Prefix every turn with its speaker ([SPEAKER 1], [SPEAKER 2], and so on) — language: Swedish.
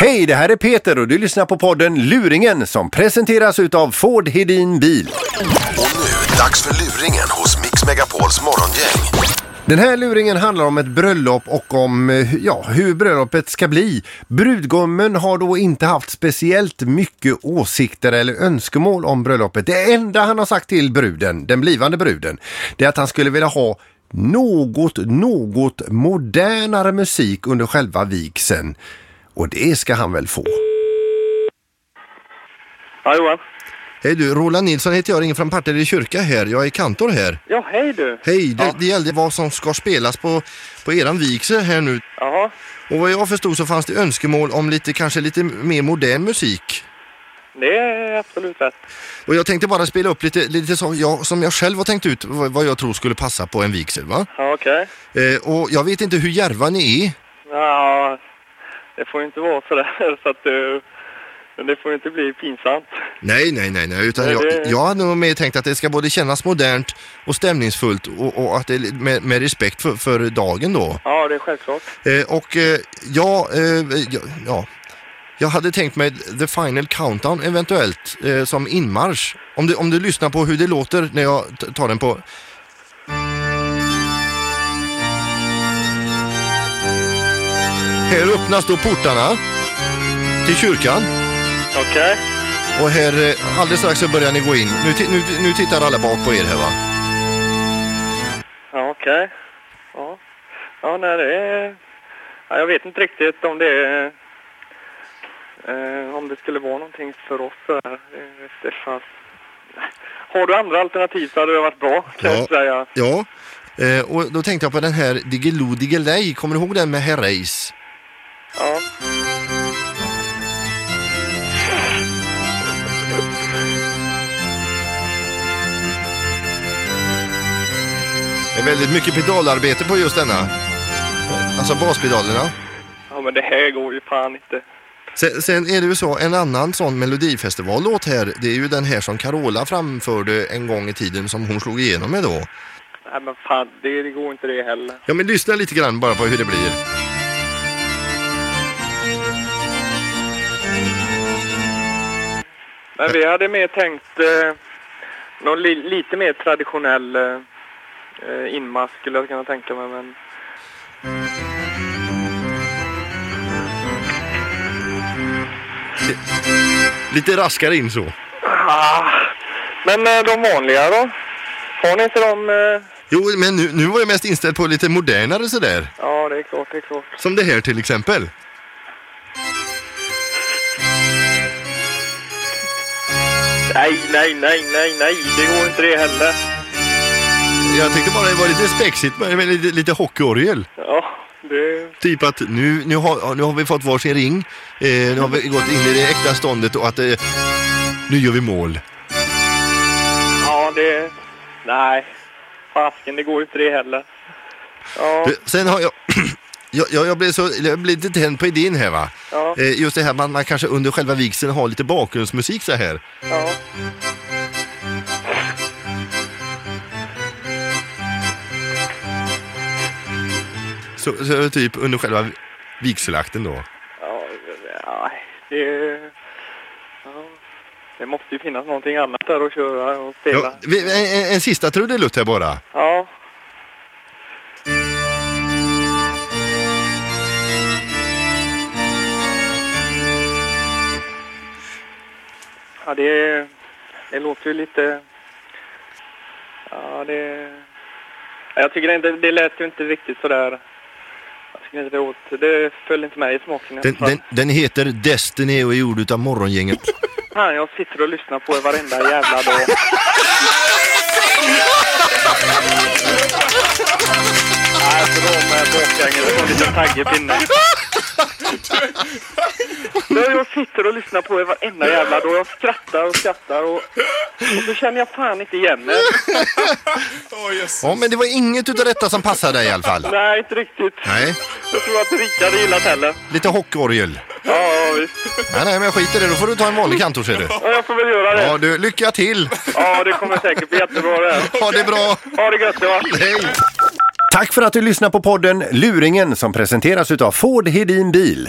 [SPEAKER 1] Hej, det här är Peter och du lyssnar på podden Luringen som presenteras utav Ford Hedin Bil.
[SPEAKER 2] Och nu, dags för luringen hos Mix Megapols morgongäng.
[SPEAKER 1] Den här luringen handlar om ett bröllop och om eh, ja, hur bröllopet ska bli. Brudgummen har då inte haft speciellt mycket åsikter eller önskemål om bröllopet. Det enda han har sagt till bruden, den blivande bruden, det är att han skulle vilja ha något, något modernare musik under själva vigseln. Och det ska han väl få.
[SPEAKER 3] Ja, Johan.
[SPEAKER 4] Hej du, Roland Nilsson heter jag, ringer från Partille kyrka här. Jag är kantor här.
[SPEAKER 3] Ja, hej du.
[SPEAKER 4] Hej, det, det gällde vad som ska spelas på, på eran vigsel här nu.
[SPEAKER 3] Jaha.
[SPEAKER 4] Och vad jag förstod så fanns det önskemål om lite, kanske lite mer modern musik.
[SPEAKER 3] Det är absolut rätt.
[SPEAKER 4] Och jag tänkte bara spela upp lite, lite så, jag, som jag själv har tänkt ut vad, vad jag tror skulle passa på en vigsel va?
[SPEAKER 3] Ja, okej.
[SPEAKER 4] Eh, och jag vet inte hur järva ni är.
[SPEAKER 3] Ja, det får ju inte vara sådär så att du... Det får ju inte bli pinsamt.
[SPEAKER 4] Nej, nej, nej, nej, utan
[SPEAKER 3] Nej,
[SPEAKER 4] jag,
[SPEAKER 3] det-
[SPEAKER 4] jag hade nog mer tänkt att det ska både kännas modernt och stämningsfullt och, och att det är med, med respekt för, för dagen då.
[SPEAKER 3] Ja, det är självklart.
[SPEAKER 4] Eh, och eh, ja, eh, ja, ja, jag hade tänkt mig The Final Countdown eventuellt eh, som inmarsch. Om du, om du lyssnar på hur det låter när jag t- tar den på... Här öppnas då portarna till kyrkan
[SPEAKER 3] Okej.
[SPEAKER 4] och här eh, alldeles strax så börjar ni gå in. Nu, ti- nu, nu tittar alla bak på er här va?
[SPEAKER 3] Ja, okej. Ja. Ja, nej, det är... Ja, jag vet inte riktigt om det är... Eh, om det skulle vara någonting för oss så här. Eh, Det fanns... Har du andra alternativ så hade det varit bra, kan
[SPEAKER 4] Ja.
[SPEAKER 3] jag säga.
[SPEAKER 4] Ja, eh, och då tänkte jag på den här Diggiloo Diggiley, kommer du ihåg den med Herreys?
[SPEAKER 3] Ja.
[SPEAKER 4] Det är väldigt mycket pedalarbete på just denna. Alltså baspedalerna.
[SPEAKER 3] ja, men det här går ju fan inte.
[SPEAKER 4] Sen, sen är det ju så, en annan sån melodifestivallåt här, det är ju den här som Carola framförde en gång i tiden som hon slog igenom med då.
[SPEAKER 3] Nej, men fan, det, det går inte det heller.
[SPEAKER 4] Ja men lyssna lite grann bara på hur det blir.
[SPEAKER 3] Men vi hade mer tänkt eh, någon li lite mer traditionell eh, eh, inmarsch skulle jag kunna tänka mig. Men...
[SPEAKER 4] Lite raskare in så.
[SPEAKER 3] Ah. men eh, de vanliga då? Har ni inte dem? Eh...
[SPEAKER 4] Jo men nu, nu var jag mest inställd på lite modernare sådär.
[SPEAKER 3] Ja, det är klart, det är klart.
[SPEAKER 4] Som det här till exempel.
[SPEAKER 3] Nej, nej, nej, nej, nej, det går inte det heller.
[SPEAKER 4] Jag tyckte bara det var lite spexigt men men lite, lite hockeyorgel.
[SPEAKER 3] Ja, det...
[SPEAKER 4] Typ att nu, nu, har, nu har vi fått varsin ring, eh, nu har vi gått in i det äkta ståndet och att eh, nu gör vi mål.
[SPEAKER 3] Ja, det... Nej. Fasken, det går inte det heller. Ja,
[SPEAKER 4] Du, Eh, Sen har jag... Jag, jag, jag, blev så, jag blev lite tänd på idén här va.
[SPEAKER 3] ja,
[SPEAKER 4] Eh, just det här man, man kanske under själva vigseln har lite bakgrundsmusik så här.
[SPEAKER 3] ja.
[SPEAKER 4] Så, så typ under själva vi- vigselakten då.
[SPEAKER 3] Ja, nej, det... Ja. Det måste ju finnas någonting annat där att köra och
[SPEAKER 4] Ja,
[SPEAKER 3] spela.
[SPEAKER 4] vi- en, en, en sista trudelutt här bara.
[SPEAKER 3] Ja. Ja, det, det låter ju lite... Ja, det... Ja, Jag tycker inte, det lät ju inte riktigt sådär... Jag tycker inte det åt... Det föll inte med i smaken. i alla
[SPEAKER 4] Den,
[SPEAKER 3] fall.
[SPEAKER 4] den, den heter Destiny och är gjord utav morgongänget.
[SPEAKER 3] Fan, jag sitter och lyssnar på er varenda jävla dag. Nej, för då med bakgängen. Det var en liten tagg i pinnen. Ja, Jag sitter och lyssnar på er varenda jävla dag. Jag skrattar och skrattar och, och så känner jag fan inte igen mig.
[SPEAKER 4] Ja men det var inget utav detta som passade dig i alla fall.
[SPEAKER 3] Nej, inte riktigt.
[SPEAKER 4] Nej,
[SPEAKER 3] Jag tror att Rickard gillat heller.
[SPEAKER 4] lite hockeyorgel.
[SPEAKER 3] Ja, ja, visst.
[SPEAKER 4] Nej, nej men jag skiter i det, då får du ta en vanlig kantor ser du.
[SPEAKER 3] Ja, jag får väl göra
[SPEAKER 4] Ja
[SPEAKER 3] det.
[SPEAKER 4] du, lycka till!
[SPEAKER 3] Ja, det kommer säkert bli jättebra det här.
[SPEAKER 4] Ha det bra!
[SPEAKER 3] Ha det gött, va?
[SPEAKER 4] Hej!
[SPEAKER 1] Tack för att du lyssnar på podden Luringen som presenteras utav Ford Hedin Bil.